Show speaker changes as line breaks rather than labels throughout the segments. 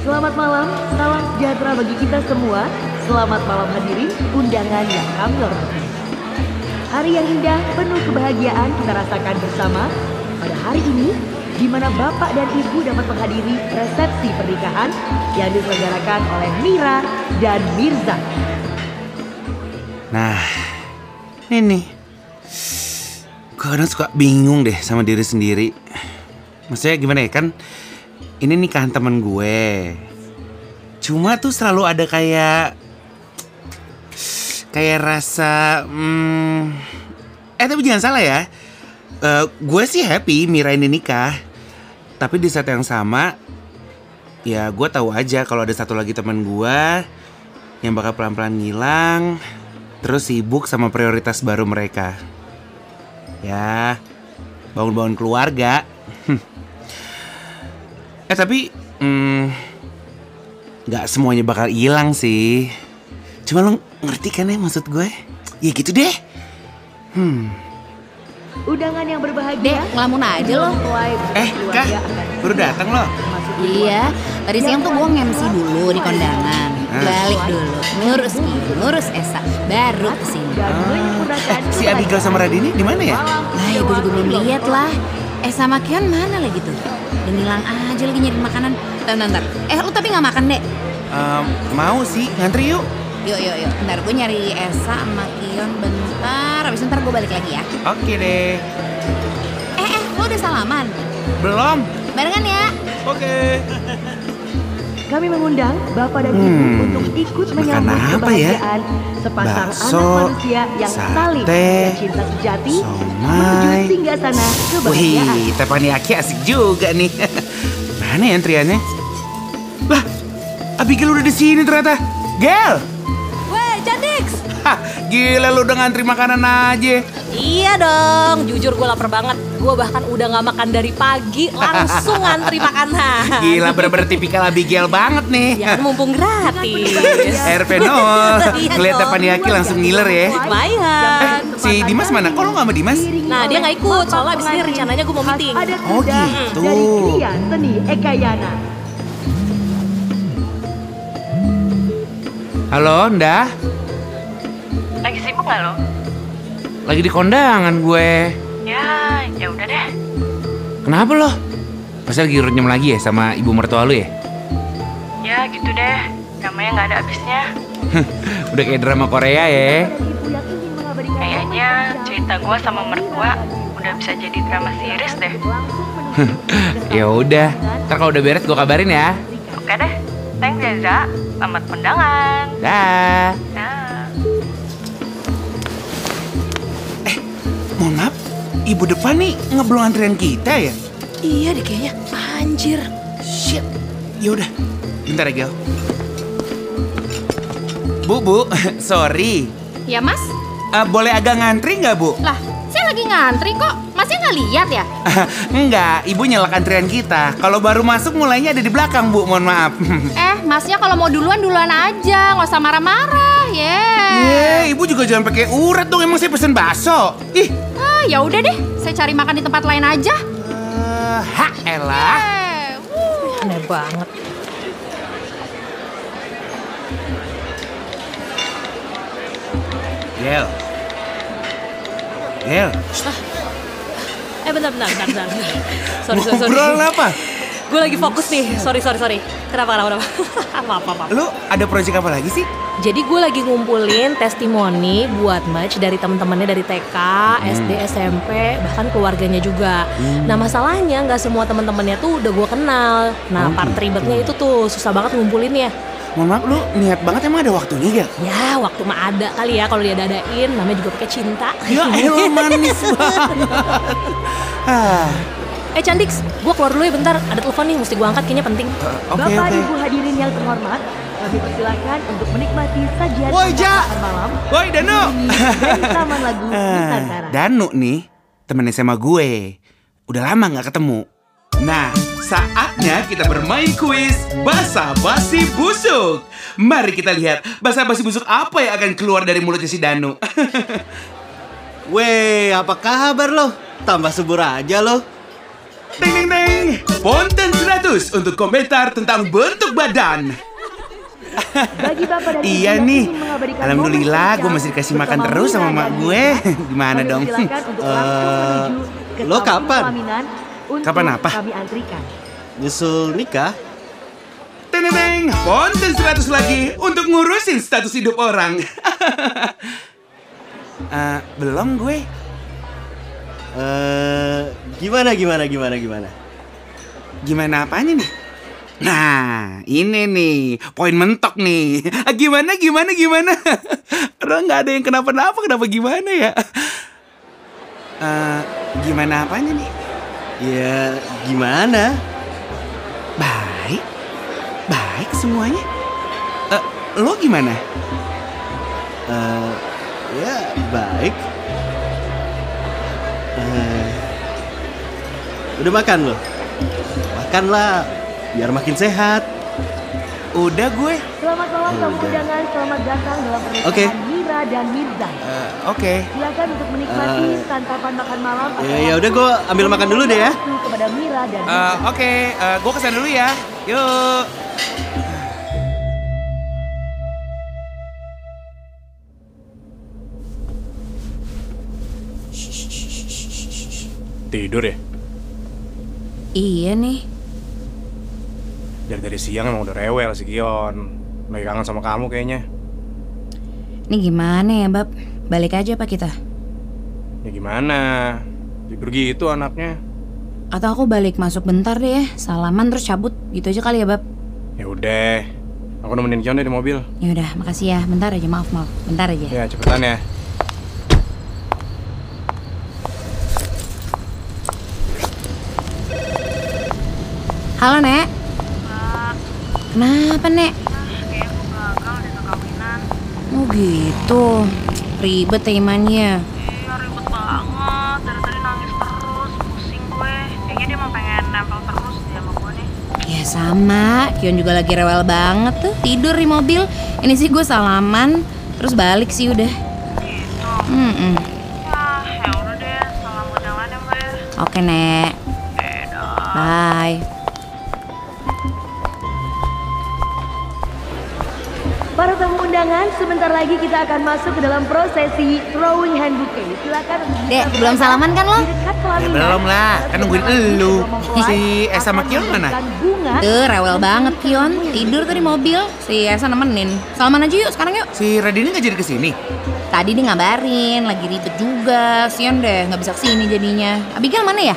Selamat malam, salam sejahtera bagi kita semua. Selamat malam hadirin undangan yang kami hormati. Hari yang indah penuh kebahagiaan kita rasakan bersama pada hari ini di mana Bapak dan Ibu dapat menghadiri resepsi pernikahan yang diselenggarakan oleh Mira dan Mirza.
Nah, ini nih. Gue kadang suka bingung deh sama diri sendiri. Maksudnya gimana ya kan? Ini nikahan temen gue. Cuma tuh selalu ada kayak kayak rasa hmm, eh tapi jangan salah ya. Eh, gue sih happy Mira ini nikah. Tapi di saat yang sama ya gue tahu aja kalau ada satu lagi teman gue yang bakal pelan-pelan ngilang terus sibuk sama prioritas baru mereka ya bangun-bangun keluarga eh tapi hmm, nggak semuanya bakal hilang sih cuma lo ngerti kan ya maksud gue ya gitu deh
Undangan yang berbahagia.
Dek, ngelamun aja lo.
Mulai
eh kah
keluarga akan
baru datang lo
memasuki
Iya, tadi siang tuh gue nge-MC dulu di kondangan. Balik dulu, ngurus Ki, ngurus Esa, baru kesini.
dan menyempurnakan
Ah, Eh, si Abigail sama Radini di mana ya
Lah, ya gue juga belum lihat lah. Eh sama Kion mana lagi tuh? Dan hilang aja lagi nyari makanan. Bentar, bentar, bentar. Eh, lu tapi nggak makan, Dek.
Em, mau sih ngantri yuk
Yuk, yuk, yuk. Bentar, gue nyari Esa sama Kion bentar. Habis itu ntar gue balik lagi ya.
oke deh
Eh, eh, lu udah salaman?
belum
Barengan ya.
oke
Kami mengundang Bapak dan Ibu
Hmm,
untuk ikut
makan
menyambut
apa ya?
kebahagiaan sepasang
Bakso,
anak manusia yang
sate,
saling dan cinta sejati menuju
somai.
singgah sana kebahagiaan.
Wih, Tepaniaki asik juga nih. Mana ya antriannya? Lah, Abigail udah di sini ternyata. Gel!
Weh, Jadix.
Hah, gila lu udah ngantri makanan aja.
Iya dong, jujur gue lapar banget. Gue bahkan udah nggak makan dari pagi, langsung ngantri makanan.
Gila bener-bener tipikal Abigail banget nih.
Ya kan mumpung gratis.
RP nol.
Iya
ya. Ngeliat
dong.
Tepaniaki langsung ngiler ya. Eh,
Lumayan.
Si Dimas mana? Kok lu gak sama Dimas?
Nah, dia nggak ikut, soalnya abis ini rencananya gue mau meeting.
Ada kuda
Oh, gitu.
dari Kriya Seni Ekayana.
Halo, Nda.
Lagi sibuk nggak lo?
Lagi di kondangan gue.
Ya, ya udah deh.
Kenapa lo? Pasti lagi renyem lagi ya sama ibu mertua lu ya?
Ya gitu deh. Namanya nggak ada habisnya.
Udah kayak drama Korea ya.
Ibu yang ingin mengabadikan
Kayaknya
momen
cerita gua sama mertua udah bisa jadi drama series deh.
langsung menuju
Ya udah, ntar kalau udah beres gue kabarin ya.
Oke deh. Thanks Jaza. Selamat undangan. Ya.
Dah.
Dah.
Mohon maaf, ibu depan nih ngeblok antrian kita ya?
Iya deh kayaknya. Anjir.
Shit. Ya udah, bentar ya, Gel. Bu, Bu, sorry.
Ya, Mas.
Eh, boleh agak ngantri nggak, Bu?
Lah, saya lagi ngantri kok. Masnya nggak lihat ya?
Enggak, ibu nyelak antrian kita. Kalau baru masuk mulainya ada di belakang, Bu. Mohon maaf.
Eh, masnya kalau mau duluan duluan aja, nggak usah marah-marah, ya.
Yeay, ibu juga jangan pakai urat dong. Emang saya pesen bakso. Ih,
Ah, ya udah deh, saya cari makan di tempat lain aja.
eh, ha elah.
Eh, wuh.
Aneh banget.
Gel. Gel,
Eh bentar, bentar, bentar. bentar. Sorry, sorry,
ngobrol
sorry.
apa?
Gue lagi fokus nih. Sorry, sorry, sorry. Kenapa, kenapa, kenapa? maaf, maaf, maaf.
Lu ada proyek apa lagi sih?
Jadi gue lagi ngumpulin testimoni buat match dari temen-temennya dari TK, SD, SMP, bahkan keluarganya juga. Nah masalahnya nggak semua temen-temennya tuh udah gue kenal. Nah part ribetnya itu tuh susah banget ngumpulinnya.
Mohon maaf, lu niat banget emang ada waktunya, Gel?
Ya waktu mah ada kali ya kalau dia dadain, namanya juga pakai cinta.
Ya elah manis banget. Ah,
eh Candix, gue keluar dulu ya bentar. Ada telepon nih, mesti gue angkat kayaknya penting.
Oke
Bapak
oke.
Ibu hadirin yang terhormat, kami persilakan untuk menikmati sajian
Woi, Ja! Eh.
makan malam
Woi Danu.
dari Taman Lagu Nusantara.
Danu nih temen SMA gue. Udah lama nggak ketemu. Nah, saatnya kita bermain kuis Basa Basi Busuk. Mari kita lihat Basa Basi Busuk apa yang akan keluar dari mulutnya si Danu.
Weh, apa kabar lo? Tambah subur aja lo.
Ding ding ding.
deh.
Ponten 100 untuk komentar tentang bentuk badan.
Bagi bapak dan
Iya
yang
nih.
ingin mengabadikan
Alhamdulillah,
momen
gue
spesial
masih dikasih makan
bersama
terus sama
Mira
mak
dan
gue.
Mira,
Gimana
kami
dong?
persilakan untuk langsung
Eh,
menuju ke
lo
salah satu
kapan?
pelaminan untuk
Kapan apa?
Kami antrikan.
Nyusul nikah?
Teneng, ponten 100 lagi untuk ngurusin status hidup orang. Eh, belum gue.
Eh, gimana gimana gimana gimana?
Gimana apanya nih? Nah, ini nih, poin mentok nih. Eh, Gimana, gimana, gimana? Lo nggak ada yang kenapa-napa, kenapa gimana ya? Eh, gimana apanya nih?
Ya gimana?
Baik, baik semuanya. Eh, lo gimana?
Eh, ya baik. Eh, udah makan lo? Makanlah, biar makin sehat.
Udah gue.
Selamat malam tamu
Udah.
undangan, selamat datang dalam pernikahan
Oke.
Mira dan Mirza.
Eh, Oke.
Silakan untuk menikmati
Eh,
santapan makan malam. atau
ya, ya
langsung
udah, gua ambil makan dulu deh ya.
langsung Kepada Mira dan
Eh,
Mirza.
Oke, eh, gue kesana dulu ya. Yuk.
Tidur ya?
Iya nih.
Dari tadi siang emang udah rewel si Gion Lagi kangen sama kamu kayaknya
Ini gimana ya, Bab? Balik aja apa kita?
Ya gimana? Tidur gitu anaknya
Atau aku balik masuk bentar deh ya, salaman terus cabut gitu aja kali ya, Bab?
Ya udah Aku nemenin Gion deh di mobil
Ya udah, makasih ya. Bentar aja, maaf, maaf. Bentar aja.
Ya cepetan ya
Halo, Nek. Kenapa, Nek? Oh gitu, ribet ya imannya
Iya ribet banget, dari tadi nangis terus, pusing gue Kayaknya dia mau pengen nempel terus dia sama gue nih
Ya sama, Kion juga lagi rewel banget tuh Tidur di mobil, ini sih gue salaman Terus balik sih udah
Gitu,
Mm-mm.
wah ya udah deh, salam undangan ya mbak ya
Oke Nek Bye
Para tamu undangan, sebentar lagi kita akan masuk ke dalam prosesi drawing hand bouquet. Silakan untuk bisa
Dek, belum
berangkat
salaman kan lo?
di dekat pelaminan.
belum lah, kan nungguin
Nanti
elu.
kedua mempelai
Si Esa
akan
sama Kion mana?
memberikan Bunga
Tuh rewel banget Kion, tidur tuh di mobil Si Esa nemenin, salaman aja yuk sekarang yuk
Si Radini nggak jadi kesini.
Tadi dia ngabarin, lagi ribet juga Sion deh, nggak bisa kesini jadinya Abigail mana ya?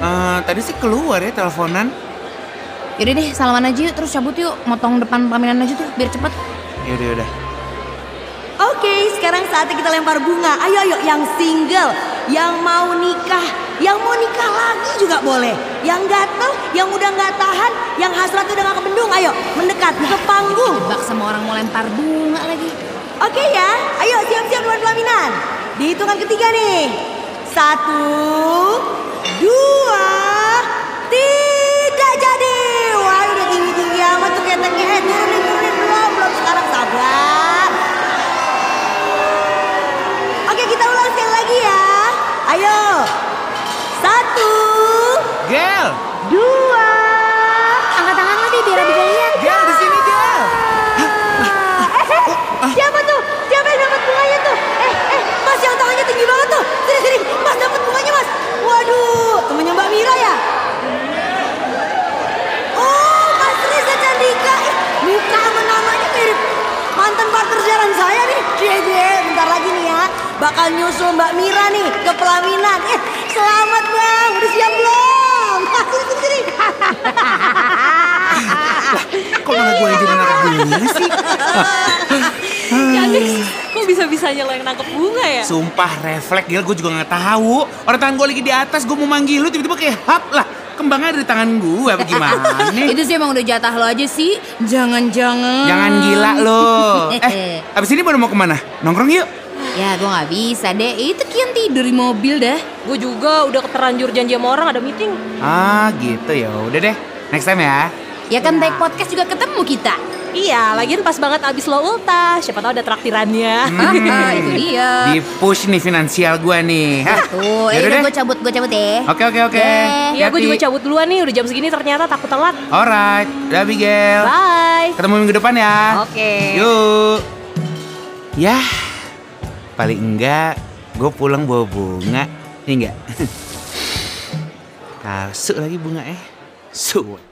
Eh, tadi sih keluar ya teleponan.
Yaudah deh, salaman aja yuk, terus cabut yuk Motong depan pelaminan aja tuh, biar cepet
Yaudah, yaudah.
Oke, sekarang saatnya kita lempar bunga. Ayo, ayo, yang single, yang mau nikah, yang mau nikah lagi juga boleh. Yang gatel, yang udah nggak tahan, yang hasratnya udah nggak kebendung, ayo mendekat ke panggung.
Bak sama orang mau lempar bunga lagi
Oke ya, ayo siap-siap luar pelaminan. Dihitungan ketiga nih. Satu, dua, tiga jadi. Wah udah tinggi-tinggi amat tuh kayak tangki. Eh turunin, turunin, belum, belum sekarang sabar. Oke kita ulang sekali lagi ya. Ayo. Satu,
Gel,
dua,
Angkat tangan lo deh, biar Abigail lihat
Gel di sini Gel.
Eh, eh,
Ah.
siapa tuh? Siapa yang dapat bunganya tuh? Eh, eh, Mas yang tangannya tinggi banget tuh. Sini, sini. Mas dapat bunganya, Mas. Waduh, temannya Mbak Mira ya? Oh, Mas Risa Candika. Ih, muka sama namanya mirip mantan partner jalan saya nih. Cie, cie, bentar lagi nih ya. Bakal nyusul Mbak Mira nih ke pelaminan. Eh, selamat Bang. Udah siap belum? Sini, sini, sini.
Kok malah gue yang jadi nangkep bunga sih?
Ya guys, kok bisa-bisanya lo yang nangkep bunga ya?
Sumpah refleks Gel, gue juga nggak tahu. Orang tangan gue lagi di atas, gue mau manggil lu tiba-tiba kayak hap lah. Kembangnya ada di tangan gue, apa gimana?
Itu sih emang udah jatah lo aja sih Jangan-jangan
Jangan gila lo. Eh, abis ini baru mau kemana? Nongkrong yuk.
Ya gue gak bisa deh, itu Kion tidur di mobil dah
Gue juga udah keterlanjur janji sama orang ada meeting.
Ah gitu ya, udah deh. Next time ya.
Ya kan naik podcast juga ketemu kita.
Iya, lagian pas banget abis lo ulta. Siapa tahu ada traktirannya.
Ah, itu dia.
Di push nih finansial gue nih. Hah.
Tuh,
Yaudah
eh,
deh.
gue cabut, gue cabut ya. deh.
Oke oke oke.
Deh.
Iya, gue
Hmm. Hati.
juga cabut duluan nih. Udah jam segini ternyata takut telat.
Alright, dah Abigail.
Bye.
Ketemu minggu depan ya.
Oke.
Yuk. Yah, paling enggak gue pulang bawa Iya bunga. Ini enggak. Kasuk lagi bunga eh. Suwe.